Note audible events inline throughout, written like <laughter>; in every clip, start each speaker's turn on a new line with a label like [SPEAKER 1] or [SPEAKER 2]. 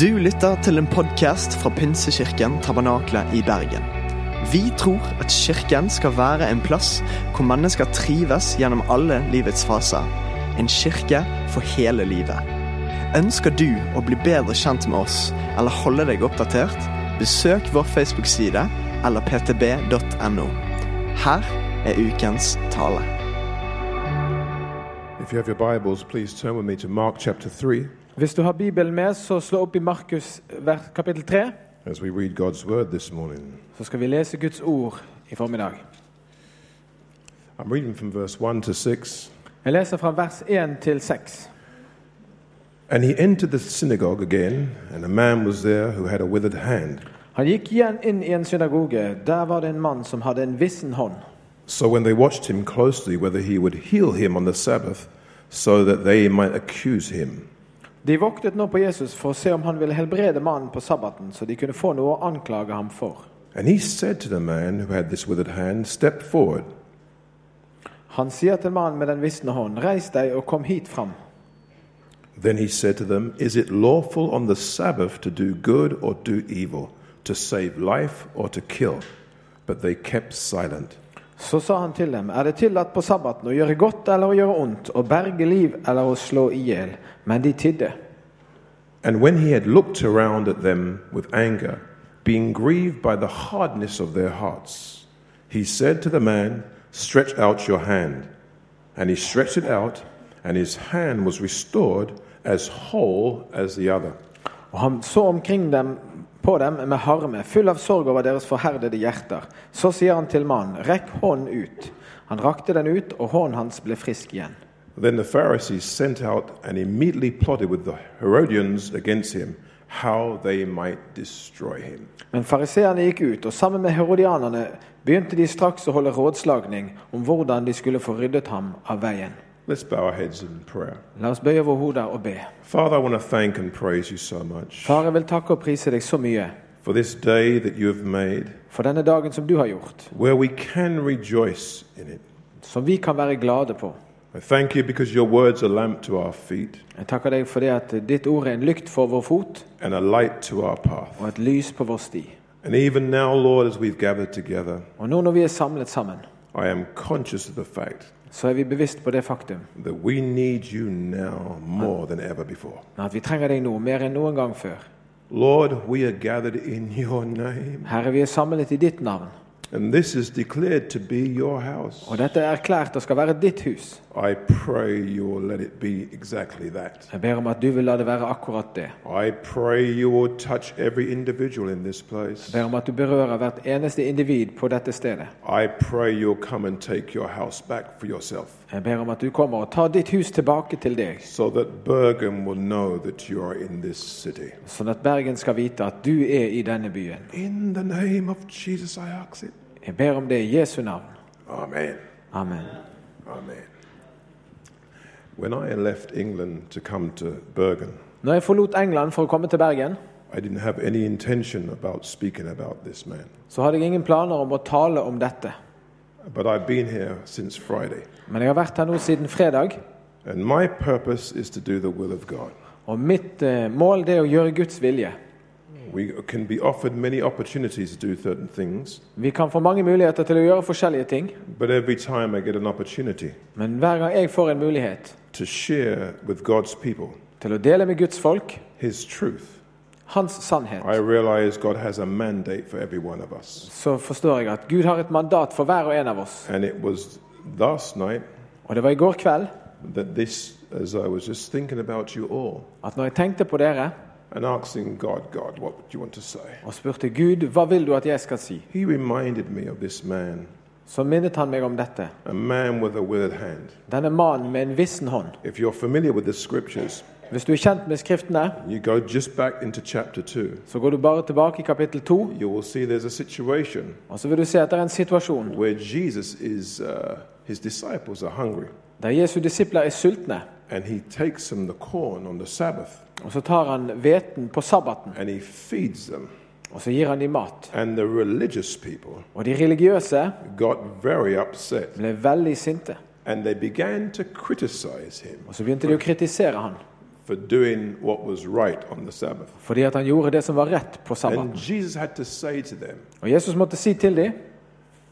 [SPEAKER 1] Du lytter til en podkast fra Pinsekirken Tabernakle i Bergen. Vi tror at kirken skal være en plass hvor mennesker trives gjennom alle livets faser. En kirke for hele livet. Ønsker du å bli bedre kjent med oss eller holde deg oppdatert? Besøk vår Facebook-side eller ptb.no. Her er ukens tale.
[SPEAKER 2] If you have your Bibles, please turn with me to Mark chapter 3
[SPEAKER 3] Hvis du har Bibelen med, så slå opp i Markus vers- kapittel 3.
[SPEAKER 2] as we read God's word this morning.
[SPEAKER 3] Så skal vi lese Guds ord i formiddag.
[SPEAKER 2] I'm reading from verse 1 to 6.
[SPEAKER 3] Jeg leser fra vers 1 til 6.
[SPEAKER 2] And he entered the synagogue again, and a man was there who had a withered hand.
[SPEAKER 3] Han gikk igjen inn i en synagoge. Der var det en mann som hadde en vissen hånd.
[SPEAKER 2] So when they watched him closely, whether he would heal him on the Sabbath, so that they might accuse him.
[SPEAKER 3] De voktet nå på Jesus for å se om han ville helbrede mannen på sabbaten, så de kunne få noe å anklage ham for.
[SPEAKER 2] And he said to the man who had this withered hand, Step forward.
[SPEAKER 3] Han sier til mannen med den visne hånd, reis deg og kom hit fram.
[SPEAKER 2] Then he said to them, Is it lawful on the Sabbath to do good or do evil, to save life or to kill? But they kept silent.
[SPEAKER 3] Så sa han til dem, er det tillatt på sabbaten å gjøre godt eller å gjøre ondt, å berge liv eller å slå i hjel? Men de tidde.
[SPEAKER 2] And when he had looked around at them with anger, being grieved by the hardness of their hearts, he said to the man, Stretch out your hand. And he stretched it out, and his hand was restored as whole as the other.
[SPEAKER 3] Og han så omkring dem, på dem med harme, full av sorg over deres forherdede hjerter. Så sier han til mannen, rekk hånden ut. Han rakte den ut, og hånden hans ble frisk igjen.
[SPEAKER 2] Then the Pharisees sent out and immediately plotted with the Herodians against him how they might destroy him.
[SPEAKER 3] Men fariseerne gikk ut, og sammen med herodianerne begynte de straks å holde rådslagning om hvordan de skulle få ryddet ham av veien.
[SPEAKER 2] Let's bow our heads in prayer.
[SPEAKER 3] La oss bøye våre hoder og be.
[SPEAKER 2] Father, I want to thank and praise you so much
[SPEAKER 3] Far, jeg vil takke og prise deg så mye
[SPEAKER 2] for this day that you have made.
[SPEAKER 3] for denne dagen som du har gjort,
[SPEAKER 2] where we can rejoice in it.
[SPEAKER 3] som vi kan være glade på.
[SPEAKER 2] I thank you because your words are a lamp to our feet
[SPEAKER 3] Jeg takker deg for det at ditt ord er en lykt for vår fot
[SPEAKER 2] and a light to our path.
[SPEAKER 3] og et lys på vår sti.
[SPEAKER 2] And even now, Lord, as we've gathered together,
[SPEAKER 3] Og nå når vi er samlet sammen,
[SPEAKER 2] I am conscious of the fact
[SPEAKER 3] så er vi bevisst på det faktum
[SPEAKER 2] that we need you now more than ever before.
[SPEAKER 3] at vi trenger deg nå mer enn noen gang før.
[SPEAKER 2] Lord, we are gathered in <laughs> your name,
[SPEAKER 3] Herre, vi er samlet i ditt navn,
[SPEAKER 2] and this is declared to be your house.
[SPEAKER 3] og dette er erklært og skal være ditt hus.
[SPEAKER 2] I pray you will let it be exactly that.
[SPEAKER 3] Jeg ber om at du vil la det være akkurat det.
[SPEAKER 2] I pray you will touch every individual in this place.
[SPEAKER 3] Jeg ber om at du berører hvert eneste individ på dette stedet.
[SPEAKER 2] I pray you'll come and take your house back for yourself.
[SPEAKER 3] Jeg ber om at du kommer og tar ditt hus tilbake til deg,
[SPEAKER 2] so that Bergen will know that you are in this city.
[SPEAKER 3] sånn at Bergen skal vite at du er i denne byen.
[SPEAKER 2] In the name of Jesus, I ask it.
[SPEAKER 3] Jeg ber om det i Jesu navn.
[SPEAKER 2] Amen.
[SPEAKER 3] Amen.
[SPEAKER 2] Amen. When I left England to come to Bergen,
[SPEAKER 3] Når jeg forlot England for å komme til Bergen,
[SPEAKER 2] I didn't have any intention about speaking about this man.
[SPEAKER 3] så hadde jeg ingen planer om å tale om dette.
[SPEAKER 2] But I've been here since Friday,
[SPEAKER 3] Men jeg har vært her nå siden fredag,
[SPEAKER 2] and my purpose is to do the will of God.
[SPEAKER 3] og mitt eh, mål det er å gjøre Guds vilje.
[SPEAKER 2] We can be offered many opportunities to do certain things,
[SPEAKER 3] Vi kan få mange muligheter til å gjøre forskjellige ting,
[SPEAKER 2] but every time I get an opportunity
[SPEAKER 3] men hver gang jeg får en mulighet
[SPEAKER 2] to share with God's people
[SPEAKER 3] til å dele med Guds folk
[SPEAKER 2] His truth,
[SPEAKER 3] hans sannhet,
[SPEAKER 2] I realize God has a mandate for every one of us.
[SPEAKER 3] så forstår jeg at Gud har et mandat for hver og en av oss.
[SPEAKER 2] And it was last night
[SPEAKER 3] Og det var i går kveld
[SPEAKER 2] that this, as I was just thinking about you all
[SPEAKER 3] at når jeg tenkte på dere
[SPEAKER 2] and asking God, God, what do you want to say?
[SPEAKER 3] og spurte Gud hva vil du at jeg skal si,
[SPEAKER 2] He reminded me of this man,
[SPEAKER 3] så minnet han meg om dette.
[SPEAKER 2] a man with a withered hand.
[SPEAKER 3] Denne mannen med en vissen hånd.
[SPEAKER 2] If you're familiar with the scriptures,
[SPEAKER 3] Hvis du er kjent med Skriftene,
[SPEAKER 2] you go just back into chapter 2,
[SPEAKER 3] så går du bare tilbake i kapittel to,
[SPEAKER 2] you will see there's a situation
[SPEAKER 3] og så vil du se at det er en situasjon
[SPEAKER 2] where Jesus is, uh, his disciples are hungry,
[SPEAKER 3] der Jesu disipler er sultne.
[SPEAKER 2] and he takes them the corn on the Sabbath
[SPEAKER 3] Og så tar han hveten på sabbaten,
[SPEAKER 2] and he feeds them.
[SPEAKER 3] og så gir han dem mat.
[SPEAKER 2] And the religious people
[SPEAKER 3] Og de religiøse
[SPEAKER 2] got very upset
[SPEAKER 3] ble veldig sinte.
[SPEAKER 2] and they began to criticize him
[SPEAKER 3] Og så begynte de å kritisere han
[SPEAKER 2] for doing what was right on the Sabbath.
[SPEAKER 3] fordi at han gjorde det som var rett på
[SPEAKER 2] And
[SPEAKER 3] sabbaten.
[SPEAKER 2] Jesus had to say to them,
[SPEAKER 3] Og Jesus måtte si til dem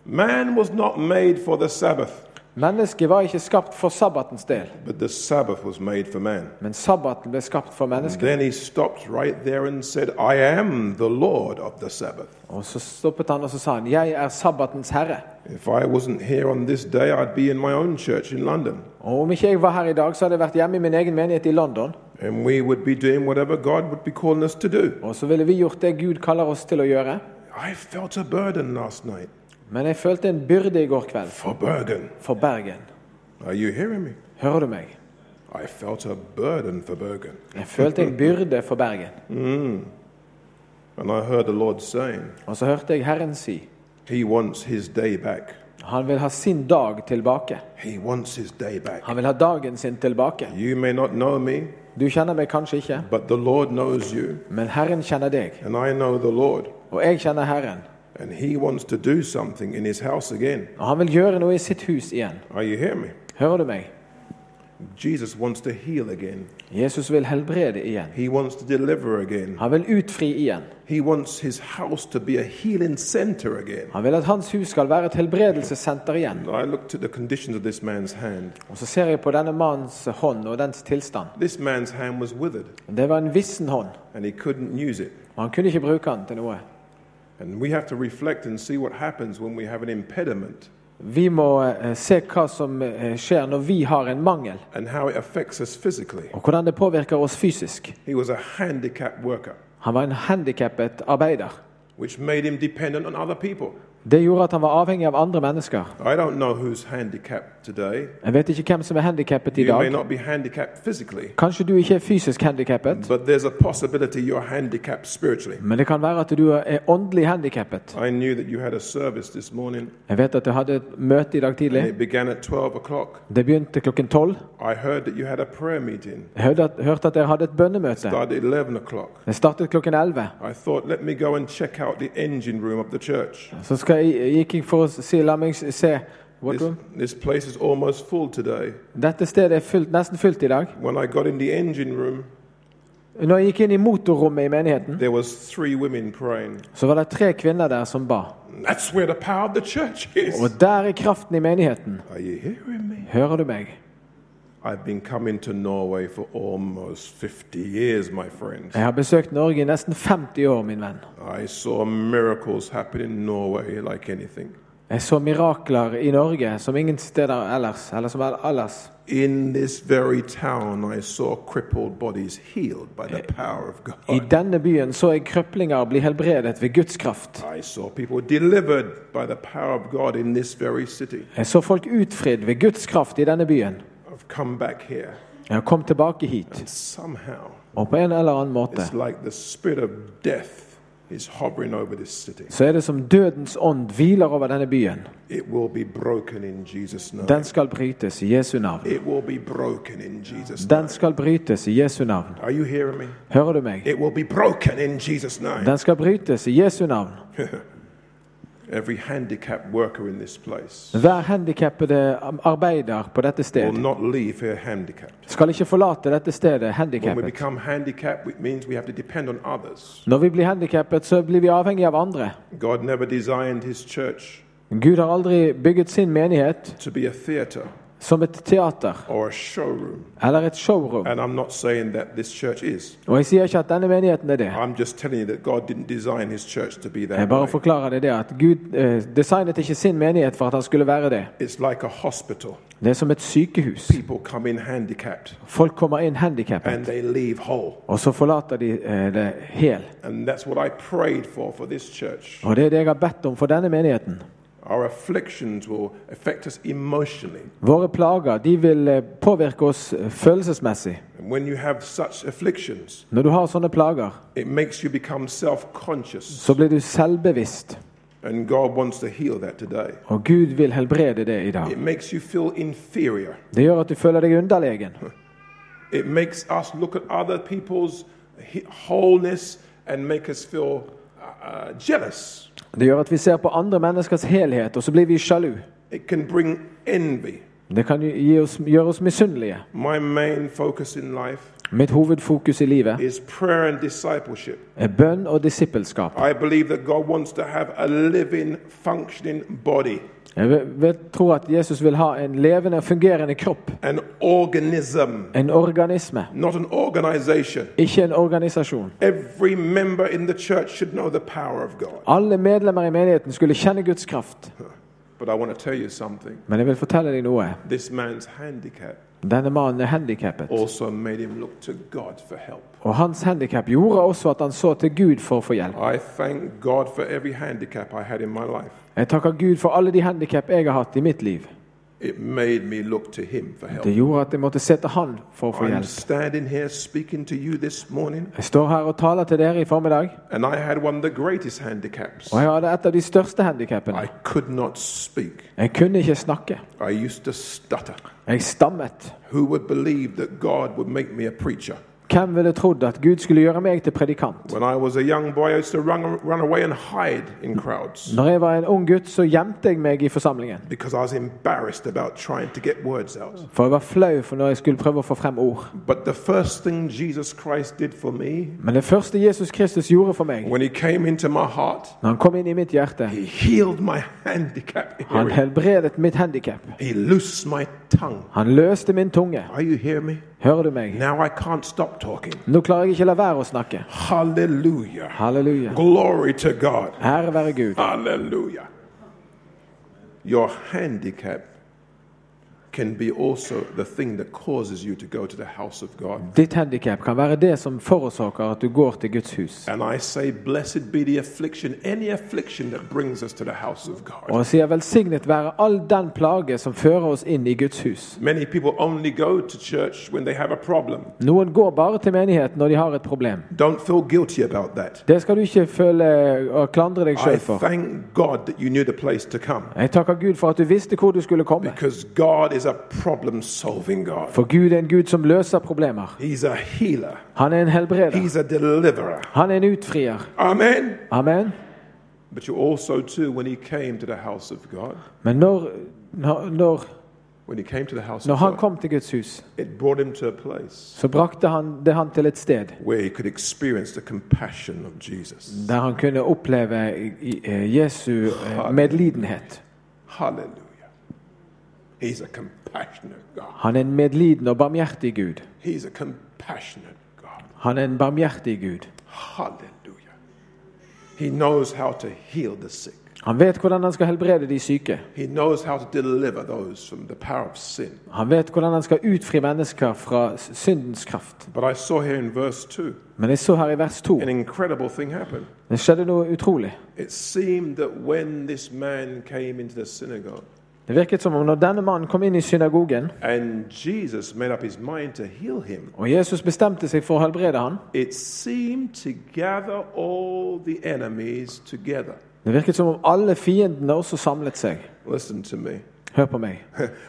[SPEAKER 2] Man was not made for the Sabbath,
[SPEAKER 3] mennesket var ikke skapt for sabbatens del,
[SPEAKER 2] but the Sabbath was made for man.
[SPEAKER 3] men sabbaten ble skapt for mennesket.
[SPEAKER 2] Then he stopped right there and said, I am the Lord of the Sabbath.
[SPEAKER 3] Og så stoppet han og så sa han, 'Jeg er sabbatens herre'.
[SPEAKER 2] If I wasn't here on this day, I'd be in my own church in London,
[SPEAKER 3] Og om ikke jeg var her i dag, så hadde jeg vært hjemme i min egen menighet i London.
[SPEAKER 2] and we would be doing whatever God would be calling us to do.
[SPEAKER 3] Og så ville vi gjort det Gud kaller oss til å gjøre.
[SPEAKER 2] I felt a burden last night
[SPEAKER 3] Men jeg følte en byrde i går kveld
[SPEAKER 2] for Bergen.
[SPEAKER 3] for Bergen.
[SPEAKER 2] Are you hearing me?
[SPEAKER 3] Hører du meg?
[SPEAKER 2] I felt a burden for Bergen.
[SPEAKER 3] Jeg følte en byrde for Bergen.
[SPEAKER 2] And I heard the Lord saying,
[SPEAKER 3] Og så hørte jeg Herren si
[SPEAKER 2] He wants his day back.
[SPEAKER 3] han vil ha sin dag tilbake.
[SPEAKER 2] He wants his day back.
[SPEAKER 3] Han vil ha dagen sin tilbake.
[SPEAKER 2] You may not know me,
[SPEAKER 3] Du kjenner meg kanskje ikke,
[SPEAKER 2] but the Lord knows you,
[SPEAKER 3] men Herren kjenner deg.
[SPEAKER 2] and I know the Lord.
[SPEAKER 3] Og jeg kjenner Herren.
[SPEAKER 2] And he wants to do something in his house again.
[SPEAKER 3] Og han vil gjøre noe i sitt hus igjen.
[SPEAKER 2] Are you hearing me?
[SPEAKER 3] Hører du meg?
[SPEAKER 2] Jesus wants to heal again.
[SPEAKER 3] Jesus vil helbrede igjen.
[SPEAKER 2] He wants to deliver again.
[SPEAKER 3] Han vil utfri igjen.
[SPEAKER 2] He wants his house to be a healing center again.
[SPEAKER 3] Han vil at hans hus skal være et helbredelsessenter igjen.
[SPEAKER 2] And I looked at the conditions of this man's hand.
[SPEAKER 3] Og så ser jeg på denne mannens hånd og dens tilstand.
[SPEAKER 2] This man's hand was withered,
[SPEAKER 3] Det var en vissen hånd,
[SPEAKER 2] and he couldn't use it.
[SPEAKER 3] og han kunne ikke bruke den til noe.
[SPEAKER 2] And we have to reflect and see what happens when we have an impediment
[SPEAKER 3] Vi må eh, se hva som eh, skjer når vi har en mangel,
[SPEAKER 2] and how it affects us physically.
[SPEAKER 3] og hvordan det påvirker oss fysisk.
[SPEAKER 2] He was a handicapped worker,
[SPEAKER 3] Han var en handikappet arbeider.
[SPEAKER 2] which made him dependent on other people.
[SPEAKER 3] Det gjorde at han var avhengig av andre mennesker.
[SPEAKER 2] I don't know who's handicapped today.
[SPEAKER 3] Jeg vet ikke hvem som er handikappet i
[SPEAKER 2] You may
[SPEAKER 3] dag.
[SPEAKER 2] not be handicapped physically,
[SPEAKER 3] Kanskje du ikke er fysisk handikappet,
[SPEAKER 2] but there's a possibility you're handicapped spiritually.
[SPEAKER 3] men det kan være at du er åndelig handikappet.
[SPEAKER 2] I knew that you had a service this morning,
[SPEAKER 3] Jeg vet at du hadde et møte i dag tidlig.
[SPEAKER 2] and it began at 12 o'clock.
[SPEAKER 3] Det begynte klokken tolv.
[SPEAKER 2] I heard that you had a prayer meeting.
[SPEAKER 3] Jeg hørte at, hørte at dere hadde et bønnemøte.
[SPEAKER 2] Started at 11 o'clock.
[SPEAKER 3] Det startet klokken 11.
[SPEAKER 2] I thought, let me go and check out the engine room of the church.
[SPEAKER 3] Så skal jeg, gikk jeg for å si La meg se what
[SPEAKER 2] This,
[SPEAKER 3] room?
[SPEAKER 2] this place is almost full today.
[SPEAKER 3] Dette stedet er fullt, nesten fullt i dag.
[SPEAKER 2] When I got in the engine room,
[SPEAKER 3] Når jeg gikk inn i motorrommet i menigheten,
[SPEAKER 2] there was three women praying.
[SPEAKER 3] så var det tre kvinner der som ba.
[SPEAKER 2] That's where the power of the church is.
[SPEAKER 3] Og der er kraften i menigheten.
[SPEAKER 2] Are you hearing me?
[SPEAKER 3] Hører du meg?
[SPEAKER 2] I've been coming to Norway for almost 50 years, my friends.
[SPEAKER 3] Jeg har besøkt Norge i nesten 50 år, min venn.
[SPEAKER 2] I saw miracles happen in Norway like anything.
[SPEAKER 3] Jeg så mirakler i Norge som ingen steder ellers. Eller som er ellers.
[SPEAKER 2] In this very town, I saw crippled bodies healed by the power of
[SPEAKER 3] I
[SPEAKER 2] God.
[SPEAKER 3] denne byen så jeg krøplinger bli helbredet ved Guds kraft.
[SPEAKER 2] I saw people delivered by the power of God in this very city.
[SPEAKER 3] Jeg så folk utfridd ved Guds kraft i denne byen.
[SPEAKER 2] I've come back here.
[SPEAKER 3] Jeg har kommet tilbake hit,
[SPEAKER 2] Somehow,
[SPEAKER 3] og på en eller annen måte
[SPEAKER 2] it's like the spirit of death is hovering over this city.
[SPEAKER 3] så er det som dødens ånd hviler over denne byen.
[SPEAKER 2] It will be broken in Jesus' name.
[SPEAKER 3] Den skal brytes i Jesu navn.
[SPEAKER 2] It will be broken in Jesus' name.
[SPEAKER 3] Den skal brytes i Jesu navn.
[SPEAKER 2] Are you hearing me?
[SPEAKER 3] Hører du meg?
[SPEAKER 2] It will be broken in Jesus' name.
[SPEAKER 3] Den skal brytes i Jesu navn.
[SPEAKER 2] Every handicapped worker in this place
[SPEAKER 3] Hver handikappede arbeider på dette
[SPEAKER 2] will
[SPEAKER 3] sted
[SPEAKER 2] not leave here handicapped.
[SPEAKER 3] skal ikke forlate dette stedet
[SPEAKER 2] When we
[SPEAKER 3] handikappet.
[SPEAKER 2] become handicapped, it means we have to depend on others.
[SPEAKER 3] Når vi blir handikappet, så blir vi avhengig av andre.
[SPEAKER 2] God never designed his church
[SPEAKER 3] Gud har aldri bygget sin menighet
[SPEAKER 2] to be a theater
[SPEAKER 3] som et teater
[SPEAKER 2] or a showroom.
[SPEAKER 3] eller et showroom.
[SPEAKER 2] And I'm not saying that this church is.
[SPEAKER 3] Og jeg sier ikke at denne menigheten er det.
[SPEAKER 2] I'm just telling you that God didn't design his church to be
[SPEAKER 3] Jeg
[SPEAKER 2] that.
[SPEAKER 3] bare
[SPEAKER 2] Way.
[SPEAKER 3] forklarer det det at Gud eh, designet ikke sin menighet for at han skulle være det.
[SPEAKER 2] It's like a hospital.
[SPEAKER 3] Det er som et sykehus.
[SPEAKER 2] People come in handicapped
[SPEAKER 3] Folk kommer inn handikappet,
[SPEAKER 2] and they leave whole.
[SPEAKER 3] og så forlater de eh, det hel.
[SPEAKER 2] And that's what I prayed for for this church.
[SPEAKER 3] Og det er det jeg har bedt om for denne menigheten.
[SPEAKER 2] Our afflictions will affect us emotionally.
[SPEAKER 3] Våre plager de vil eh, påvirke oss eh, følelsesmessig.
[SPEAKER 2] And when you have such afflictions,
[SPEAKER 3] Når du har sånne plager,
[SPEAKER 2] it makes you become self conscious.
[SPEAKER 3] så blir du selvbevisst.
[SPEAKER 2] And God wants to heal that today.
[SPEAKER 3] Og Gud vil helbrede det i dag.
[SPEAKER 2] It makes you feel inferior.
[SPEAKER 3] Det gjør at du føler deg underlegen.
[SPEAKER 2] It makes us look at other people's he- wholeness and make us feel uh, jealous.
[SPEAKER 3] Det gjør at vi ser på andre menneskers helhet, og så blir vi sjalu.
[SPEAKER 2] It can bring envy.
[SPEAKER 3] Det kan jo gi oss, gjøre oss misunnelige.
[SPEAKER 2] My main focus in life
[SPEAKER 3] Mitt hovedfokus i livet
[SPEAKER 2] is prayer and discipleship.
[SPEAKER 3] er bønn og disippelskap.
[SPEAKER 2] I believe that God wants to have a living, functioning body,
[SPEAKER 3] Jeg vil- vil tro at Jesus vil ha en levende og fungerende kropp.
[SPEAKER 2] an organism,
[SPEAKER 3] En organisme,
[SPEAKER 2] not an organization.
[SPEAKER 3] ikke en organisasjon.
[SPEAKER 2] Every member in the church should know the power of God.
[SPEAKER 3] Alle medlemmer i menigheten skulle kjenne Guds kraft.
[SPEAKER 2] But I want to tell you something.
[SPEAKER 3] Men jeg vil fortelle deg noe.
[SPEAKER 2] This man's handicap
[SPEAKER 3] Denne mannen er handikappet.
[SPEAKER 2] also made him look to God for help.
[SPEAKER 3] Og hans handikap gjorde også at han så til Gud for å få hjelp.
[SPEAKER 2] I thank God for every handicap I had in my life.
[SPEAKER 3] Jeg takker Gud for alle de handikap jeg har hatt i mitt liv.
[SPEAKER 2] It made me look to Him for help.
[SPEAKER 3] Det gjorde at jeg måtte se til Han for å få
[SPEAKER 2] I'm
[SPEAKER 3] hjelp.
[SPEAKER 2] standing here speaking to you this morning,
[SPEAKER 3] Jeg står her og taler til dere i formiddag,
[SPEAKER 2] and I had one of the greatest handicaps.
[SPEAKER 3] og jeg hadde et av de største handikappene.
[SPEAKER 2] I could not speak.
[SPEAKER 3] Jeg kunne ikke snakke.
[SPEAKER 2] I used to stutter.
[SPEAKER 3] Jeg stammet.
[SPEAKER 2] Who would believe that God would make me a preacher?
[SPEAKER 3] Hvem ville trodd at Gud skulle gjøre meg til predikant?
[SPEAKER 2] When I was a young boy, I used to run, run away and hide in crowds
[SPEAKER 3] Når jeg var en ung gutt, så gjemte jeg meg i forsamlingen.
[SPEAKER 2] because I was embarrassed about trying to get words out.
[SPEAKER 3] For jeg var flau for når jeg skulle prøve å få frem ord.
[SPEAKER 2] But the first thing Jesus Christ did for me,
[SPEAKER 3] Men det første Jesus Kristus gjorde for meg,
[SPEAKER 2] when He came into my heart,
[SPEAKER 3] når han kom inn i mitt hjerte
[SPEAKER 2] He healed my handicap.
[SPEAKER 3] Han
[SPEAKER 2] hearing.
[SPEAKER 3] helbredet mitt handikap.
[SPEAKER 2] He loosed my tongue.
[SPEAKER 3] Han løste min tunge.
[SPEAKER 2] Are you hearing me?
[SPEAKER 3] Hører du meg?
[SPEAKER 2] Now I can't stop talking.
[SPEAKER 3] Nå klarer jeg ikke la være å snakke.
[SPEAKER 2] Hallelujah.
[SPEAKER 3] Halleluja.
[SPEAKER 2] Glory to God.
[SPEAKER 3] Ære være Gud.
[SPEAKER 2] Hallelujah. Your handicap can be also the thing that causes you to go to the house of God.
[SPEAKER 3] Ditt handikap kan være det som forårsaker at du går til Guds hus.
[SPEAKER 2] And I say, blessed be the affliction, any affliction that brings us to the house of
[SPEAKER 3] Og
[SPEAKER 2] God.
[SPEAKER 3] han sier velsignet være all den plage som fører oss inn i Guds hus.
[SPEAKER 2] Many people only go to church when they have a problem.
[SPEAKER 3] Noen går bare til menighet når de har et problem.
[SPEAKER 2] Don't feel guilty about that.
[SPEAKER 3] Det skal du ikke føle og klandre deg
[SPEAKER 2] I
[SPEAKER 3] sjøl for.
[SPEAKER 2] thank God that you knew the place to come
[SPEAKER 3] Jeg takker Gud for at du visste hvor du skulle komme.
[SPEAKER 2] because God is a problem solving God.
[SPEAKER 3] For Gud er en Gud som løser problemer.
[SPEAKER 2] He's a healer,
[SPEAKER 3] Han er en helbreder.
[SPEAKER 2] He's a deliverer.
[SPEAKER 3] Han er en utfrier.
[SPEAKER 2] Amen.
[SPEAKER 3] Amen.
[SPEAKER 2] But you also, too, when he came to the house of God,
[SPEAKER 3] Men når, når, når,
[SPEAKER 2] when he came to the house
[SPEAKER 3] når
[SPEAKER 2] of
[SPEAKER 3] han
[SPEAKER 2] God,
[SPEAKER 3] kom til Guds hus,
[SPEAKER 2] it brought him to a place
[SPEAKER 3] så brakte han det han til et sted
[SPEAKER 2] where he could experience the compassion of Jesus.
[SPEAKER 3] der han kunne oppleve i- i- eh, Jesu eh, medlidenhet.
[SPEAKER 2] Hallelujah. He's a compassionate God.
[SPEAKER 3] Han er en medlidende og barmhjertig Gud.
[SPEAKER 2] He's a compassionate God.
[SPEAKER 3] Han er en barmhjertig Gud.
[SPEAKER 2] Hallelujah. He knows how to heal the sick.
[SPEAKER 3] Han vet hvordan han skal helbrede de syke.
[SPEAKER 2] He knows how to deliver those from the power of sin.
[SPEAKER 3] Han vet hvordan han skal utfri mennesker fra s- syndens kraft.
[SPEAKER 2] But I saw here in verse 2
[SPEAKER 3] Men jeg så her i vers 2
[SPEAKER 2] an incredible thing happened.
[SPEAKER 3] det skjedde noe utrolig.
[SPEAKER 2] It seemed that when this man came into the synagogue,
[SPEAKER 3] Det virket som om når denne mannen kom inn i synagogen,
[SPEAKER 2] and Jesus made up his mind to heal him,
[SPEAKER 3] og Jesus bestemte seg for å helbrede han,
[SPEAKER 2] it seemed to gather all the enemies together.
[SPEAKER 3] det virket som om alle fiendene også samlet seg.
[SPEAKER 2] Listen to me. <laughs>
[SPEAKER 3] Hør på meg.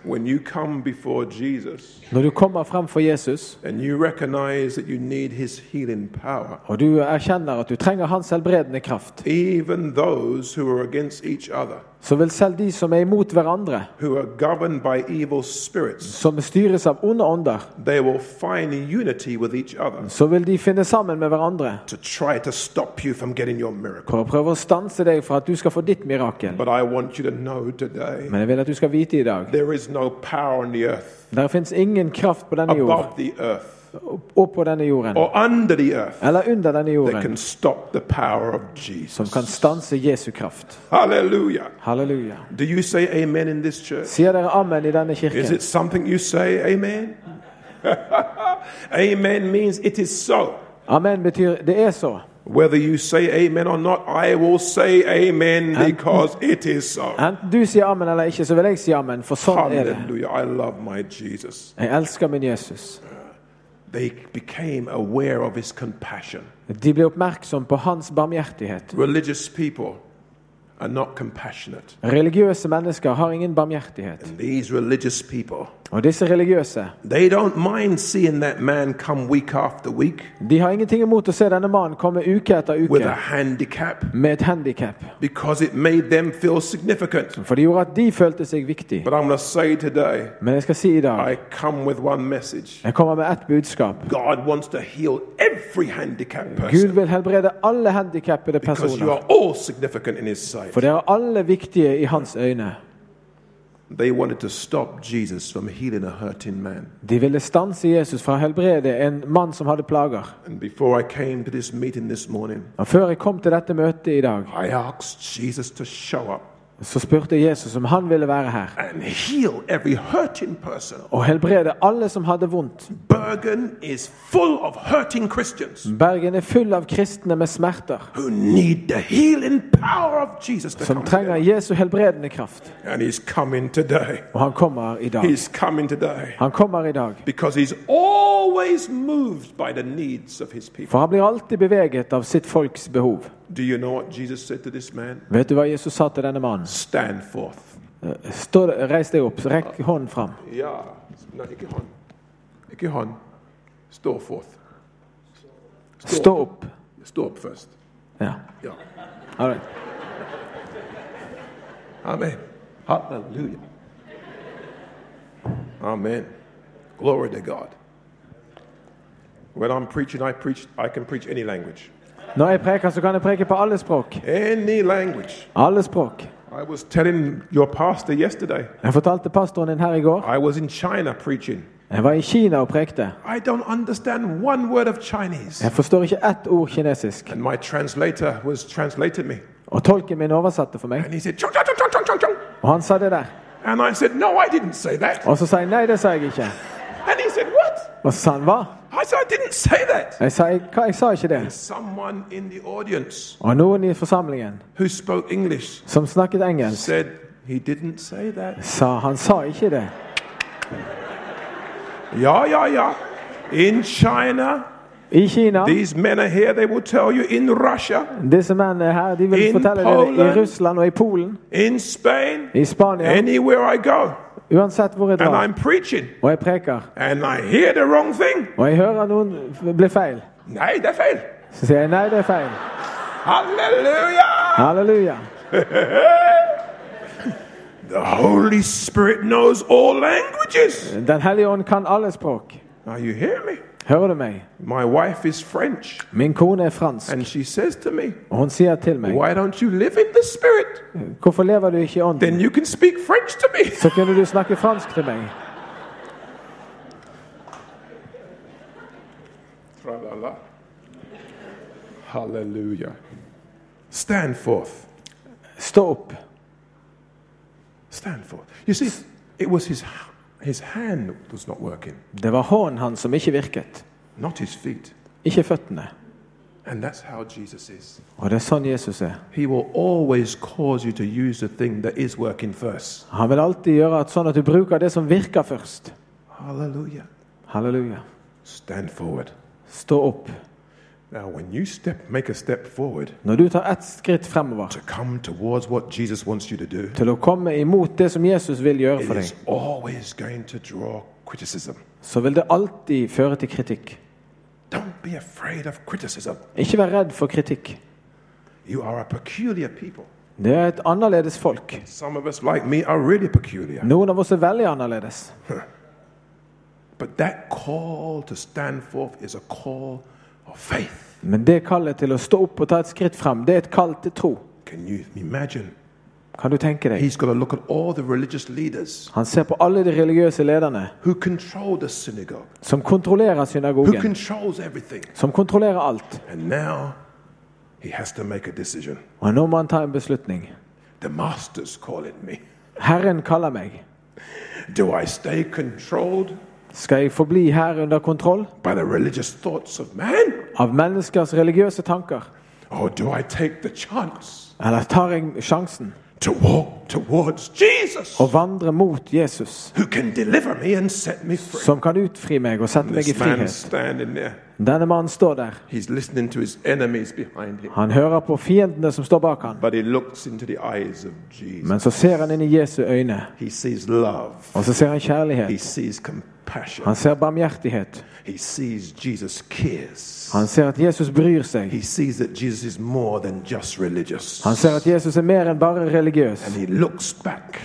[SPEAKER 2] When you come before Jesus
[SPEAKER 3] Når du kommer frem for Jesus,
[SPEAKER 2] and you recognize that you need his healing power,
[SPEAKER 3] og du erkjenner at du trenger hans helbredende kraft,
[SPEAKER 2] even those who are against each other,
[SPEAKER 3] så vil selv de som er imot hverandre,
[SPEAKER 2] who are governed by evil spirits,
[SPEAKER 3] som styres av onde ånder,
[SPEAKER 2] they will find unity with each other
[SPEAKER 3] så vil de finne sammen med hverandre
[SPEAKER 2] to try to stop you from getting your miracle.
[SPEAKER 3] for å prøve å stanse deg for at du skal få ditt mirakel.
[SPEAKER 2] But I want you to know today
[SPEAKER 3] Men jeg vil at du skal vite i dag
[SPEAKER 2] there is no power on the earth,
[SPEAKER 3] der fins ingen kraft på denne jord,
[SPEAKER 2] above the earth.
[SPEAKER 3] og på denne jorden,
[SPEAKER 2] or under the earth
[SPEAKER 3] eller under denne
[SPEAKER 2] that can
[SPEAKER 3] jorden,
[SPEAKER 2] stop the power of
[SPEAKER 3] som
[SPEAKER 2] Jesus.
[SPEAKER 3] kan stanse Jesu kraft.
[SPEAKER 2] Hallelujah.
[SPEAKER 3] Halleluja.
[SPEAKER 2] Do you say amen in this church?
[SPEAKER 3] Sier dere amen i denne
[SPEAKER 2] Is
[SPEAKER 3] kirken?
[SPEAKER 2] it something you say amen? <laughs> amen means it is so.
[SPEAKER 3] Amen betyr det er så.
[SPEAKER 2] Whether you say amen or not, I will say amen because it is so.
[SPEAKER 3] Enten du sier amen eller ikke, så vil jeg si amen, for sånn er det.
[SPEAKER 2] Hallelujah. I love my Jesus.
[SPEAKER 3] Jeg elsker min Jesus.
[SPEAKER 2] They became aware of his compassion.
[SPEAKER 3] De ble oppmerksom på hans barmhjertighet.
[SPEAKER 2] Religious people are not compassionate.
[SPEAKER 3] Religiøse mennesker har ingen barmhjertighet.
[SPEAKER 2] These religious people
[SPEAKER 3] Og disse religiøse
[SPEAKER 2] They don't mind seeing that man come week after week
[SPEAKER 3] de har ingenting imot å se denne mannen komme uke etter
[SPEAKER 2] with
[SPEAKER 3] uke
[SPEAKER 2] a handicap
[SPEAKER 3] med et handikap.
[SPEAKER 2] because it made them feel significant.
[SPEAKER 3] For det gjorde at de følte seg viktig.
[SPEAKER 2] But I'm going to say today,
[SPEAKER 3] Men jeg skal si i dag
[SPEAKER 2] I come with one message.
[SPEAKER 3] jeg kommer med ett budskap.
[SPEAKER 2] God wants to heal every handicapped person
[SPEAKER 3] Gud vil helbrede alle handikappede
[SPEAKER 2] because you
[SPEAKER 3] personer.
[SPEAKER 2] are all significant in His sight.
[SPEAKER 3] For dere er alle viktige i hans øyne.
[SPEAKER 2] They wanted to stop Jesus from healing a hurting man.
[SPEAKER 3] De ville stanse Jesus fra å helbrede en mann som hadde plager.
[SPEAKER 2] And before I came to this meeting this morning,
[SPEAKER 3] Og Før jeg kom til dette møtet i dag,
[SPEAKER 2] I asked Jesus to show up
[SPEAKER 3] så spurte jeg Jesus om han ville være her
[SPEAKER 2] and heal every hurting person.
[SPEAKER 3] og helbrede alle som hadde vondt.
[SPEAKER 2] Bergen is full of hurting Christians
[SPEAKER 3] Bergen er full av kristne med smerter
[SPEAKER 2] who need the healing power of Jesus to
[SPEAKER 3] som
[SPEAKER 2] come. to
[SPEAKER 3] trenger
[SPEAKER 2] them.
[SPEAKER 3] Jesu helbredende kraft.
[SPEAKER 2] And he's coming today.
[SPEAKER 3] Og han kommer i dag.
[SPEAKER 2] He's coming today
[SPEAKER 3] Han kommer i dag.
[SPEAKER 2] because he's always moved by the needs of his people.
[SPEAKER 3] For han blir alltid beveget av sitt folks behov.
[SPEAKER 2] Do you know what Jesus said to this man?
[SPEAKER 3] Vet du hva Jesus sa til denne mannen?
[SPEAKER 2] Stand forth.
[SPEAKER 3] Eh, Stå, reis deg opp, rekk hånden fram.
[SPEAKER 2] Ja, no, ikke hånd. Ikke hånd. Stå forth.
[SPEAKER 3] Stå opp.
[SPEAKER 2] Stå opp først.
[SPEAKER 3] Ja.
[SPEAKER 2] Ja.
[SPEAKER 3] All right.
[SPEAKER 2] Amen. Hallelujah. Amen. Glory to God. When I'm preaching, I preach. I can preach any language.
[SPEAKER 3] Når jeg preker, så kan jeg preke på alle språk.
[SPEAKER 2] Any language.
[SPEAKER 3] Alle språk.
[SPEAKER 2] I was telling your pastor yesterday.
[SPEAKER 3] Jeg fortalte pastoren din her i går.
[SPEAKER 2] I was in China preaching.
[SPEAKER 3] Jeg var i Kina og prekte.
[SPEAKER 2] I don't understand one word of Chinese.
[SPEAKER 3] Jeg forstår ikke ett ord kinesisk.
[SPEAKER 2] And my translator was translating me.
[SPEAKER 3] Og tolken min oversatte for meg,
[SPEAKER 2] And he said, chung, chung, chung, chung, chung, chung, chung.
[SPEAKER 3] og han sa det der.
[SPEAKER 2] And I said, No, I didn't say that.
[SPEAKER 3] Og så sa jeg nei, det sa jeg ikke.
[SPEAKER 2] And he said, What?
[SPEAKER 3] Og så sa han hva?
[SPEAKER 2] I said, I didn't say that.
[SPEAKER 3] Jeg sa, jeg, hva, jeg sa ikke det.
[SPEAKER 2] Someone in the audience
[SPEAKER 3] Og noen i forsamlingen
[SPEAKER 2] who spoke English
[SPEAKER 3] som snakket engelsk,
[SPEAKER 2] said, He didn't say that.
[SPEAKER 3] sa han sa ikke det.
[SPEAKER 2] Yeah, yeah, yeah. In China,
[SPEAKER 3] I Kina,
[SPEAKER 2] these men are here, they will tell you. In Russia,
[SPEAKER 3] disse mennene her, de vil
[SPEAKER 2] In
[SPEAKER 3] fortelle deg det i
[SPEAKER 2] Poland.
[SPEAKER 3] Russland og i Polen,
[SPEAKER 2] in Spain,
[SPEAKER 3] i Spania,
[SPEAKER 2] anywhere I go.
[SPEAKER 3] uansett hvor jeg
[SPEAKER 2] And
[SPEAKER 3] drar.
[SPEAKER 2] I'm preaching.
[SPEAKER 3] Og jeg preker,
[SPEAKER 2] And I hear the wrong thing.
[SPEAKER 3] og jeg hører noen blir feil.
[SPEAKER 2] Nay, they fail.
[SPEAKER 3] Så sier jeg nei, det er feil.
[SPEAKER 2] Hallelujah.
[SPEAKER 3] Halleluja.
[SPEAKER 2] The Holy Spirit knows all languages.
[SPEAKER 3] Den hellige ånd kan alle språk.
[SPEAKER 2] Now, you hear me?
[SPEAKER 3] Hører du meg?
[SPEAKER 2] My wife is French.
[SPEAKER 3] Min kone er fransk,
[SPEAKER 2] And she says to me,
[SPEAKER 3] og hun sier til meg
[SPEAKER 2] Why don't you live in the Spirit?
[SPEAKER 3] Hvorfor lever du ikke i ånden?
[SPEAKER 2] Then you can speak French to me.
[SPEAKER 3] Så kunne du snakke fransk til meg.
[SPEAKER 2] Tra-la-la. Hallelujah. Stand forth.
[SPEAKER 3] Stå opp.
[SPEAKER 2] Stand forth. You see, it was his, his hand that was not working,
[SPEAKER 3] Det var hånden hans som ikke virket,
[SPEAKER 2] not his feet.
[SPEAKER 3] ikke føttene.
[SPEAKER 2] And that's how Jesus is.
[SPEAKER 3] Og det er sånn Jesus er.
[SPEAKER 2] He will always cause you to use the thing that is working first.
[SPEAKER 3] Han vil alltid gjøre at sånn at du bruker det som virker først.
[SPEAKER 2] Hallelujah.
[SPEAKER 3] Halleluja.
[SPEAKER 2] Stand forward.
[SPEAKER 3] Stå opp.
[SPEAKER 2] Now, when you step, make a step forward
[SPEAKER 3] Når du tar ett skritt fremover
[SPEAKER 2] to come towards what Jesus wants you to do,
[SPEAKER 3] til å komme imot det som Jesus vil gjøre
[SPEAKER 2] it
[SPEAKER 3] for deg,
[SPEAKER 2] is always going to draw criticism.
[SPEAKER 3] så vil det alltid føre til kritikk.
[SPEAKER 2] Don't be afraid of criticism.
[SPEAKER 3] Ikke vær redd for kritikk.
[SPEAKER 2] You are a peculiar people.
[SPEAKER 3] Det er et annerledes folk.
[SPEAKER 2] Some of us, like me, are really peculiar.
[SPEAKER 3] Noen av oss er veldig annerledes.
[SPEAKER 2] But that call to stand forth is a call of faith.
[SPEAKER 3] Men det kallet til å stå opp og ta et skritt frem, det er et kall til tro.
[SPEAKER 2] Can you imagine?
[SPEAKER 3] Kan du tenke deg?
[SPEAKER 2] He's got to look at all the religious leaders
[SPEAKER 3] Han ser på alle de religiøse lederne
[SPEAKER 2] who control the synagogue,
[SPEAKER 3] som kontrollerer
[SPEAKER 2] who
[SPEAKER 3] synagogen,
[SPEAKER 2] controls everything.
[SPEAKER 3] som kontrollerer alt.
[SPEAKER 2] And now he has to make a decision.
[SPEAKER 3] Og nå må han ta en beslutning.
[SPEAKER 2] The master's calling me.
[SPEAKER 3] Herren kaller meg.
[SPEAKER 2] Do I stay controlled
[SPEAKER 3] Skal jeg forbli her under kontroll
[SPEAKER 2] by the religious thoughts of man?
[SPEAKER 3] av menneskers religiøse tanker?
[SPEAKER 2] Or do I take the chance
[SPEAKER 3] Eller tar jeg sjansen?
[SPEAKER 2] to walk towards Jesus,
[SPEAKER 3] og vandre mot Jesus,
[SPEAKER 2] who can deliver me and set me free.
[SPEAKER 3] som kan utfri meg og sette
[SPEAKER 2] And
[SPEAKER 3] meg i
[SPEAKER 2] this man's
[SPEAKER 3] frihet.
[SPEAKER 2] standing there.
[SPEAKER 3] Denne mannen står der.
[SPEAKER 2] He's listening to his enemies behind him,
[SPEAKER 3] Han hører på fiendene som står bak han,
[SPEAKER 2] but he looks into the eyes of Jesus.
[SPEAKER 3] men så ser han inn i Jesu øyne,
[SPEAKER 2] He sees love.
[SPEAKER 3] og så ser han
[SPEAKER 2] He
[SPEAKER 3] kjærlighet.
[SPEAKER 2] sees compassion.
[SPEAKER 3] Han ser barmhjertighet.
[SPEAKER 2] He sees Jesus cares.
[SPEAKER 3] Han ser at Jesus bryr seg.
[SPEAKER 2] He sees that Jesus is more than just religious.
[SPEAKER 3] Han ser at Jesus er mer enn bare religiøs.
[SPEAKER 2] And he looks back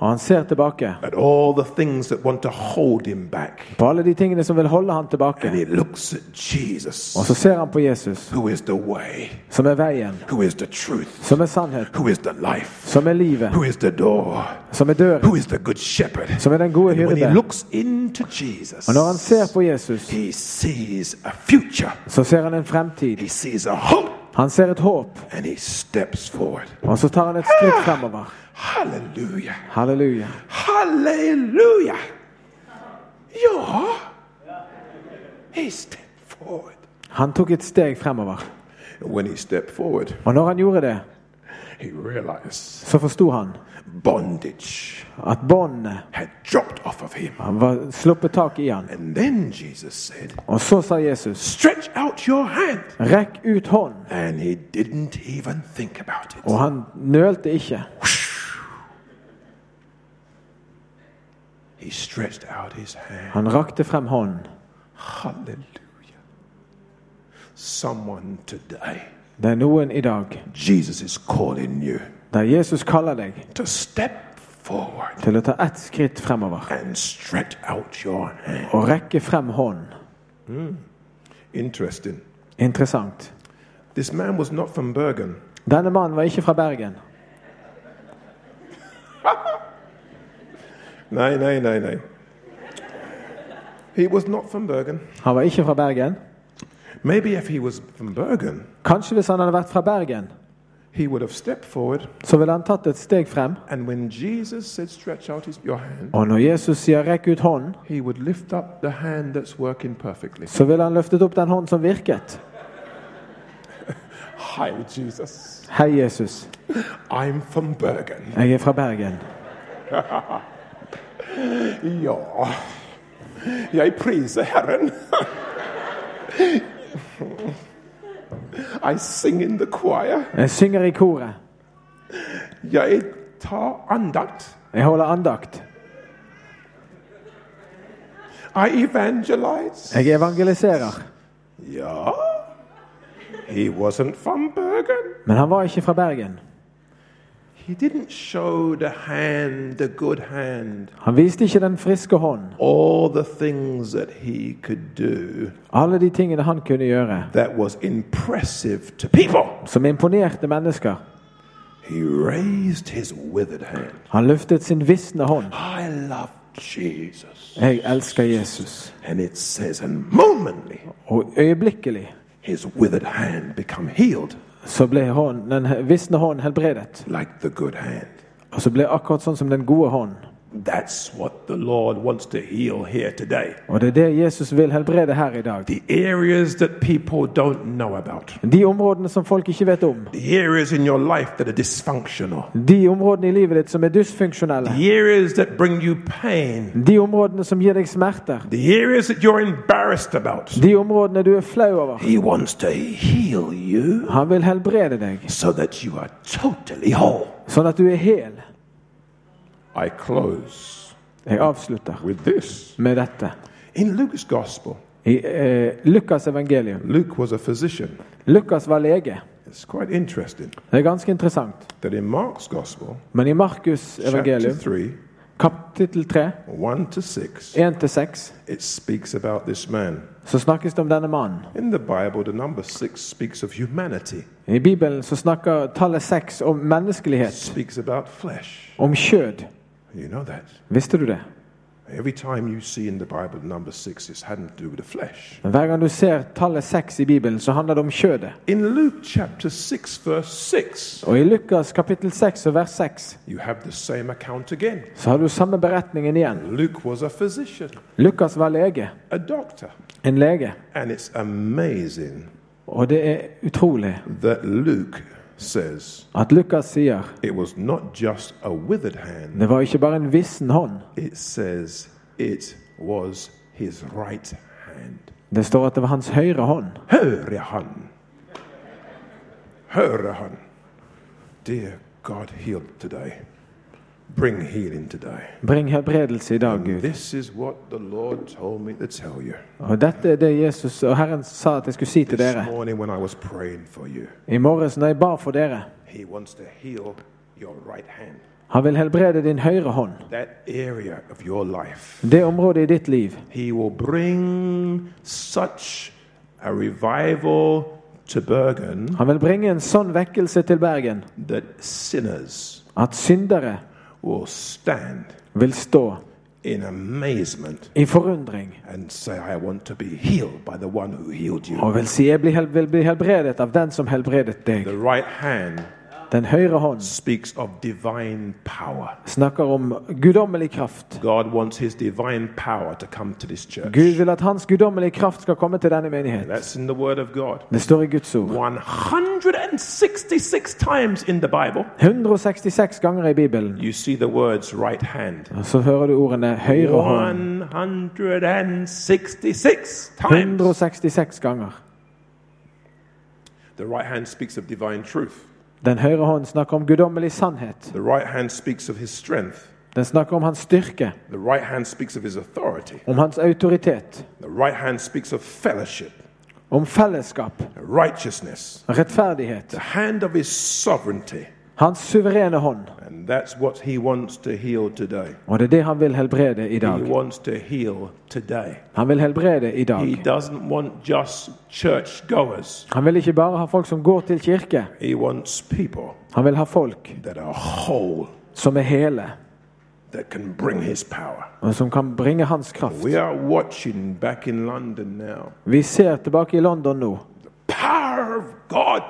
[SPEAKER 3] Og han ser tilbake
[SPEAKER 2] at all the things that want to hold him back.
[SPEAKER 3] på alle de tingene som vil holde han tilbake.
[SPEAKER 2] And he looks at Jesus,
[SPEAKER 3] Og så ser han på Jesus,
[SPEAKER 2] who is the way,
[SPEAKER 3] som er veien,
[SPEAKER 2] who is the truth,
[SPEAKER 3] som er sannhet,
[SPEAKER 2] who is the life,
[SPEAKER 3] som er livet,
[SPEAKER 2] who is the door,
[SPEAKER 3] som er døren,
[SPEAKER 2] who is the good shepherd.
[SPEAKER 3] som er den gode
[SPEAKER 2] And when he
[SPEAKER 3] hyrde.
[SPEAKER 2] looks into Jesus,
[SPEAKER 3] Og når han ser på Jesus,
[SPEAKER 2] he sees a future,
[SPEAKER 3] så ser han en fremtid.
[SPEAKER 2] he sees a hope,
[SPEAKER 3] Han ser et håp,
[SPEAKER 2] and he steps forward.
[SPEAKER 3] og så tar han et skritt fremover.
[SPEAKER 2] Hallelujah.
[SPEAKER 3] Halleluja.
[SPEAKER 2] Hallelujah. Ja. He stepped forward.
[SPEAKER 3] Han tok et steg fremover.
[SPEAKER 2] And when he stepped forward,
[SPEAKER 3] Og når han gjorde det,
[SPEAKER 2] he realized
[SPEAKER 3] så forsto han
[SPEAKER 2] bondage
[SPEAKER 3] at båndene
[SPEAKER 2] had dropped off of him.
[SPEAKER 3] var sluppet tak i han.
[SPEAKER 2] And then Jesus said,
[SPEAKER 3] Og så sa Jesus,
[SPEAKER 2] Stretch out your hand.
[SPEAKER 3] rekk ut hånd.
[SPEAKER 2] And he didn't even think about
[SPEAKER 3] Og
[SPEAKER 2] it.
[SPEAKER 3] han nølte ikke.
[SPEAKER 2] He stretched out his hand.
[SPEAKER 3] Han rakte frem hånden.
[SPEAKER 2] Hallelujah. Someone today,
[SPEAKER 3] Det er noen i dag
[SPEAKER 2] Jesus is calling you
[SPEAKER 3] der Jesus kaller deg
[SPEAKER 2] to step forward
[SPEAKER 3] til å ta ett skritt fremover
[SPEAKER 2] and stretch out your hand.
[SPEAKER 3] og rekke frem hånden.
[SPEAKER 2] Interesting.
[SPEAKER 3] Interessant.
[SPEAKER 2] This man was not from Bergen.
[SPEAKER 3] Denne mannen var ikke fra Bergen.
[SPEAKER 2] No, no, no, no. He was not from Bergen.
[SPEAKER 3] Han var ikke fra Bergen.
[SPEAKER 2] Maybe if he was from Bergen,
[SPEAKER 3] Kanskje hvis han hadde vært fra Bergen,
[SPEAKER 2] he would have stepped forward.
[SPEAKER 3] så ville han tatt et steg frem.
[SPEAKER 2] And when Jesus said, Stretch out his, your hand,
[SPEAKER 3] Og når Jesus sier 'rekk ut hånden',
[SPEAKER 2] he would lift up the hand that's working perfectly.
[SPEAKER 3] så ville han løftet opp den hånden som virket.
[SPEAKER 2] Hi, Jesus.
[SPEAKER 3] Hei, Jesus.
[SPEAKER 2] I'm from Bergen.
[SPEAKER 3] Jeg er fra Bergen.
[SPEAKER 2] Ja. Jeg priser Herren. <laughs> I sing in the choir.
[SPEAKER 3] Jeg synger i koret.
[SPEAKER 2] Jeg tar andakt.
[SPEAKER 3] Jeg holder andakt.
[SPEAKER 2] I evangelize.
[SPEAKER 3] Jeg evangeliserer.
[SPEAKER 2] Ja. He wasn't from Bergen.
[SPEAKER 3] Men han var ikke fra Bergen.
[SPEAKER 2] He didn't show the hand, the good hand,
[SPEAKER 3] Han viste ikke den friske hånden.
[SPEAKER 2] all the things that he could do
[SPEAKER 3] Alle de tingene han kunne gjøre,
[SPEAKER 2] that was impressive to people.
[SPEAKER 3] som imponerte mennesker.
[SPEAKER 2] He raised his withered hand.
[SPEAKER 3] Han løftet sin visne hånd.
[SPEAKER 2] I love Jesus.
[SPEAKER 3] Jeg elsker Jesus.
[SPEAKER 2] And it says, and momently
[SPEAKER 3] Og øyeblikkelig
[SPEAKER 2] his withered hand become healed
[SPEAKER 3] så ble hånden, den visne hånden helbredet.
[SPEAKER 2] like the good hand.
[SPEAKER 3] Og så ble akkurat sånn som den gode hånden.
[SPEAKER 2] That's what the Lord wants to heal here today.
[SPEAKER 3] Og det er det Jesus vil helbrede her i dag.
[SPEAKER 2] The areas that people don't know about.
[SPEAKER 3] De områdene som folk ikke vet om.
[SPEAKER 2] The areas in your life that are dysfunctional.
[SPEAKER 3] De områdene i livet ditt som er dysfunksjonelle.
[SPEAKER 2] The areas that bring you pain.
[SPEAKER 3] De områdene som gir deg smerter.
[SPEAKER 2] The areas that you're embarrassed about.
[SPEAKER 3] De områdene du er flau over.
[SPEAKER 2] He wants to heal you
[SPEAKER 3] Han vil helbrede deg,
[SPEAKER 2] so that you are totally whole.
[SPEAKER 3] sånn at du er hel.
[SPEAKER 2] I close
[SPEAKER 3] Jeg avslutter
[SPEAKER 2] with this.
[SPEAKER 3] med dette.
[SPEAKER 2] In Luke's gospel,
[SPEAKER 3] I eh, Lukas evangelium.
[SPEAKER 2] Luke was a physician.
[SPEAKER 3] Lukas var lege.
[SPEAKER 2] It's quite interesting
[SPEAKER 3] Det er ganske interessant.
[SPEAKER 2] that in Mark's gospel,
[SPEAKER 3] Men i Markus
[SPEAKER 2] chapter
[SPEAKER 3] evangelium,
[SPEAKER 2] 3,
[SPEAKER 3] kapittel 3,
[SPEAKER 2] 1 to 6,
[SPEAKER 3] 1-6,
[SPEAKER 2] it speaks about this man.
[SPEAKER 3] så snakkes det om denne mannen.
[SPEAKER 2] In the Bible, the number 6 speaks of humanity,
[SPEAKER 3] I Bibelen så snakker tallet 6 om menneskelighet,
[SPEAKER 2] speaks about flesh.
[SPEAKER 3] om kjød.
[SPEAKER 2] You know that.
[SPEAKER 3] Visste du det?
[SPEAKER 2] Every time you see in the Bible the number six, it's having to do with the flesh.
[SPEAKER 3] Men hver gang du ser tallet 6 i Bibelen, så handler det om kjødet.
[SPEAKER 2] In Luke chapter 6, verse 6,
[SPEAKER 3] Og i Lukas kapittel 6 og vers 6
[SPEAKER 2] you have the same account again.
[SPEAKER 3] så har du samme beretningen igjen.
[SPEAKER 2] Luke was a physician,
[SPEAKER 3] Lukas var lege.
[SPEAKER 2] a doctor.
[SPEAKER 3] En lege.
[SPEAKER 2] And it's amazing
[SPEAKER 3] Og det er utrolig
[SPEAKER 2] that Luke says
[SPEAKER 3] at Lukas sier
[SPEAKER 2] it was not just a withered hand,
[SPEAKER 3] det var ikke bare en vissen hånd.
[SPEAKER 2] it says it was his right hand.
[SPEAKER 3] Det står at det var hans høyre hånd.
[SPEAKER 2] Höre han. Höre han. Dear God, heal today. Bring healing today.
[SPEAKER 3] Bring helbredelse i dag, Gud.
[SPEAKER 2] This is what the Lord told me to tell you
[SPEAKER 3] Og dette er det Jesus og Herren sa at jeg skulle si til
[SPEAKER 2] this
[SPEAKER 3] dere.
[SPEAKER 2] morning when I was praying for you.
[SPEAKER 3] I morges når jeg bar for dere,
[SPEAKER 2] He wants to heal your right hand,
[SPEAKER 3] han vil helbrede din høyre hånd.
[SPEAKER 2] that area of your life.
[SPEAKER 3] Det området i ditt liv.
[SPEAKER 2] He will bring such a revival to Bergen
[SPEAKER 3] Han vil bringe en sånn vekkelse til Bergen
[SPEAKER 2] that sinners
[SPEAKER 3] at syndere
[SPEAKER 2] will stand
[SPEAKER 3] vil stå
[SPEAKER 2] in amazement
[SPEAKER 3] i forundring
[SPEAKER 2] and say, I want to be healed by the one who healed you.
[SPEAKER 3] og vil si jeg blir hel- vil bli helbredet av den som helbredet deg.
[SPEAKER 2] The right hand
[SPEAKER 3] Den høyre hånd
[SPEAKER 2] speaks of divine power.
[SPEAKER 3] snakker om guddommelig kraft.
[SPEAKER 2] God wants his divine power to come to this church.
[SPEAKER 3] Gud vil at hans guddommelige kraft skal komme til denne menighet.
[SPEAKER 2] That's in the Word of God.
[SPEAKER 3] Det står i Guds ord.
[SPEAKER 2] 166 times in the Bible,
[SPEAKER 3] 166 ganger i Bibelen
[SPEAKER 2] you see the words right hand.
[SPEAKER 3] og så hører du ordene høyre hånd
[SPEAKER 2] 166 times.
[SPEAKER 3] 166 ganger.
[SPEAKER 2] The right hand speaks of divine truth.
[SPEAKER 3] Den høyre hånd snakker om guddommelig sannhet.
[SPEAKER 2] The right hand speaks of his strength.
[SPEAKER 3] Den snakker om hans styrke,
[SPEAKER 2] The right hand speaks of his authority.
[SPEAKER 3] om hans autoritet,
[SPEAKER 2] The right hand speaks of fellowship,
[SPEAKER 3] om fellesskap,
[SPEAKER 2] righteousness,
[SPEAKER 3] rettferdighet.
[SPEAKER 2] the hand of his sovereignty.
[SPEAKER 3] Hans suverene hånd.
[SPEAKER 2] And that's what he wants to heal today.
[SPEAKER 3] Og det er det han vil helbrede i
[SPEAKER 2] He
[SPEAKER 3] dag.
[SPEAKER 2] wants to heal today.
[SPEAKER 3] Han vil helbrede i
[SPEAKER 2] He
[SPEAKER 3] dag.
[SPEAKER 2] doesn't want just church goers.
[SPEAKER 3] Han vil ikke bare ha folk som går til kirke.
[SPEAKER 2] He wants people
[SPEAKER 3] Han vil ha folk
[SPEAKER 2] that are whole,
[SPEAKER 3] som er hele,
[SPEAKER 2] that can bring his power.
[SPEAKER 3] og som kan bringe hans kraft.
[SPEAKER 2] We are watching back in London now.
[SPEAKER 3] Vi ser tilbake i London nå.
[SPEAKER 2] Power of God.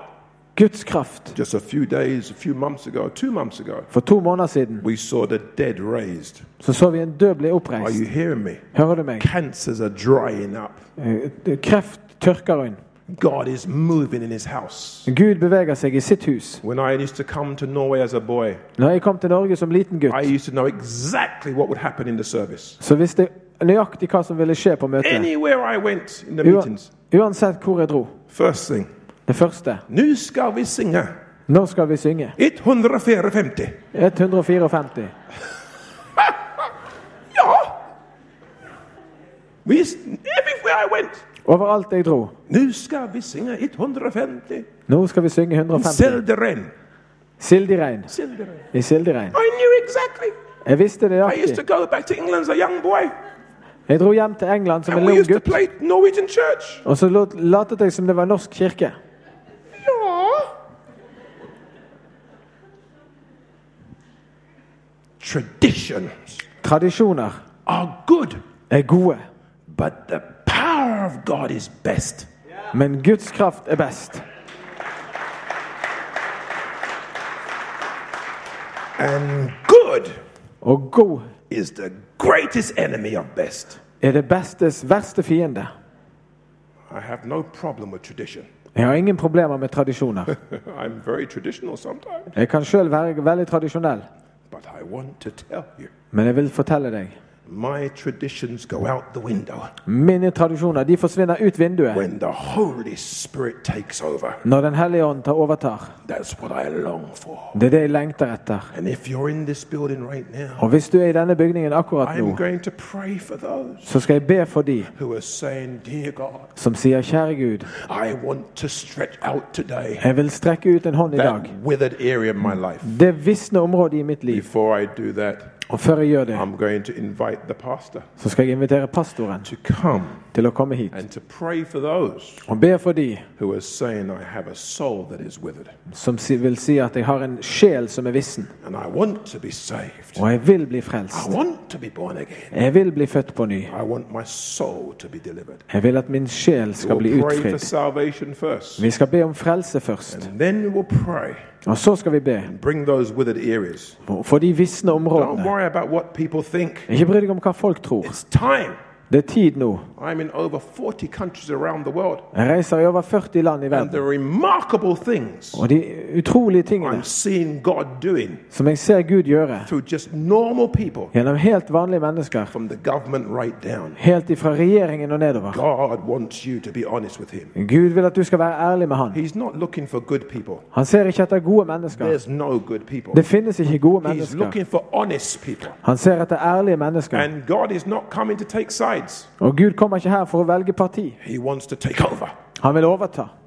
[SPEAKER 3] Guds kraft.
[SPEAKER 2] Just a few days, a few months ago, two months ago,
[SPEAKER 3] For to måneder siden
[SPEAKER 2] we saw the dead raised.
[SPEAKER 3] så så vi en død bli
[SPEAKER 2] Are
[SPEAKER 3] oppreist.
[SPEAKER 2] you hearing me?
[SPEAKER 3] Hører du meg?
[SPEAKER 2] Cancers are drying up.
[SPEAKER 3] Eh, Kreft tørker øyn.
[SPEAKER 2] God is moving in his house.
[SPEAKER 3] Gud beveger seg i sitt hus.
[SPEAKER 2] When I used to come to Norway as a boy,
[SPEAKER 3] Når jeg kom til Norge som liten
[SPEAKER 2] I
[SPEAKER 3] gutt,
[SPEAKER 2] used to know exactly what would happen in the service.
[SPEAKER 3] så visste jeg nøyaktig hva som ville skje på møtet.
[SPEAKER 2] Anywhere I went in the
[SPEAKER 3] Ua-
[SPEAKER 2] meetings,
[SPEAKER 3] Uansett hvor jeg dro.
[SPEAKER 2] first thing,
[SPEAKER 3] Det første
[SPEAKER 2] nu ska vi singa
[SPEAKER 3] Når skal vi synge?
[SPEAKER 2] 154.
[SPEAKER 3] 154.
[SPEAKER 2] Ja! Vi, everywhere I went,
[SPEAKER 3] Overalt jeg dro.
[SPEAKER 2] nu ska vi singa 150.
[SPEAKER 3] Nå skal vi synge 150.
[SPEAKER 2] Selderen.
[SPEAKER 3] Sildiregn.
[SPEAKER 2] Selderen.
[SPEAKER 3] I sildiregn.
[SPEAKER 2] I knew exactly.
[SPEAKER 3] Jeg visste det
[SPEAKER 2] I used to
[SPEAKER 3] nøyaktig.
[SPEAKER 2] go back to England as a young boy,
[SPEAKER 3] Jeg dro hjem til England som
[SPEAKER 2] and
[SPEAKER 3] en
[SPEAKER 2] we
[SPEAKER 3] liten
[SPEAKER 2] used to
[SPEAKER 3] gutt,
[SPEAKER 2] play Norwegian church.
[SPEAKER 3] og så lot- latet jeg som det var norsk kirke.
[SPEAKER 2] Ja. Traditions
[SPEAKER 3] Tradisjoner
[SPEAKER 2] are good,
[SPEAKER 3] er gode,
[SPEAKER 2] but the power of God is best.
[SPEAKER 3] men Guds kraft er best.
[SPEAKER 2] And good
[SPEAKER 3] Og god
[SPEAKER 2] is the greatest enemy of best.
[SPEAKER 3] er det bestes verste fiende.
[SPEAKER 2] I have no problem with tradition. <laughs>
[SPEAKER 3] Jeg har ingen problemer med tradisjoner.
[SPEAKER 2] I'm very traditional sometimes.
[SPEAKER 3] Jeg kan sjøl være veldig tradisjonell,
[SPEAKER 2] But I want to tell you,
[SPEAKER 3] men jeg vil fortelle deg
[SPEAKER 2] my traditions go out the window
[SPEAKER 3] mine tradisjoner de forsvinner ut vinduet
[SPEAKER 2] when the Holy Spirit takes over.
[SPEAKER 3] når Den hellige ånd tar overtar.
[SPEAKER 2] That's what I long for.
[SPEAKER 3] Det er det jeg lengter etter.
[SPEAKER 2] And if you're in this building right now,
[SPEAKER 3] Og hvis du er i denne bygningen akkurat
[SPEAKER 2] I'm
[SPEAKER 3] nå,
[SPEAKER 2] going to pray for those
[SPEAKER 3] så skal jeg be for de
[SPEAKER 2] who are saying, Dear God,
[SPEAKER 3] som sier, kjære Gud,
[SPEAKER 2] I want to stretch out today
[SPEAKER 3] jeg vil strekke ut en hånd i dag.
[SPEAKER 2] that withered area of my life.
[SPEAKER 3] Det visne området i mitt liv.
[SPEAKER 2] Before I do that,
[SPEAKER 3] Og før jeg gjør det,
[SPEAKER 2] I'm going to invite the pastor
[SPEAKER 3] så skal jeg invitere pastoren
[SPEAKER 2] to come
[SPEAKER 3] til å komme hit
[SPEAKER 2] and to pray for those
[SPEAKER 3] og be for de
[SPEAKER 2] who are saying, I have a soul that is withered.
[SPEAKER 3] som si- vil si at jeg har en sjel som er vissen,
[SPEAKER 2] and I want to be saved.
[SPEAKER 3] og jeg vil bli
[SPEAKER 2] I
[SPEAKER 3] frelst.
[SPEAKER 2] want to be born again.
[SPEAKER 3] Jeg vil bli født på ny.
[SPEAKER 2] I want my soul to be delivered.
[SPEAKER 3] Jeg vil at min sjel skal bli
[SPEAKER 2] We'll pray for
[SPEAKER 3] utfridd.
[SPEAKER 2] salvation first,
[SPEAKER 3] Vi skal be om frelse først,
[SPEAKER 2] and then we'll pray
[SPEAKER 3] og så skal vi be
[SPEAKER 2] and bring those withered areas.
[SPEAKER 3] for de visne
[SPEAKER 2] Don't
[SPEAKER 3] områdene.
[SPEAKER 2] worry about what people think.
[SPEAKER 3] Ikke bry deg om hva folk tror.
[SPEAKER 2] It's time
[SPEAKER 3] Det er tid nå.
[SPEAKER 2] I'm in over 40 countries around the world.
[SPEAKER 3] Jeg reiser i over 40 land i
[SPEAKER 2] And
[SPEAKER 3] verden.
[SPEAKER 2] the remarkable things
[SPEAKER 3] Og de utrolige tingene
[SPEAKER 2] I'm seeing God doing
[SPEAKER 3] som jeg ser Gud gjøre
[SPEAKER 2] through just normal people
[SPEAKER 3] gjennom helt vanlige mennesker,
[SPEAKER 2] from the government right down.
[SPEAKER 3] helt ifra regjeringen og nedover
[SPEAKER 2] God wants you to be honest with Him.
[SPEAKER 3] Gud vil at du skal være ærlig med Han.
[SPEAKER 2] He's not looking for good people.
[SPEAKER 3] Han ser ikke etter gode mennesker.
[SPEAKER 2] There's no good people.
[SPEAKER 3] Det finnes ikke gode
[SPEAKER 2] He's
[SPEAKER 3] mennesker.
[SPEAKER 2] looking for honest people.
[SPEAKER 3] Han ser etter ærlige mennesker.
[SPEAKER 2] And God is not coming to take sides.
[SPEAKER 3] Og Gud kommer ikke her for å velge parti.
[SPEAKER 2] He wants to take over.
[SPEAKER 3] Han vil overta.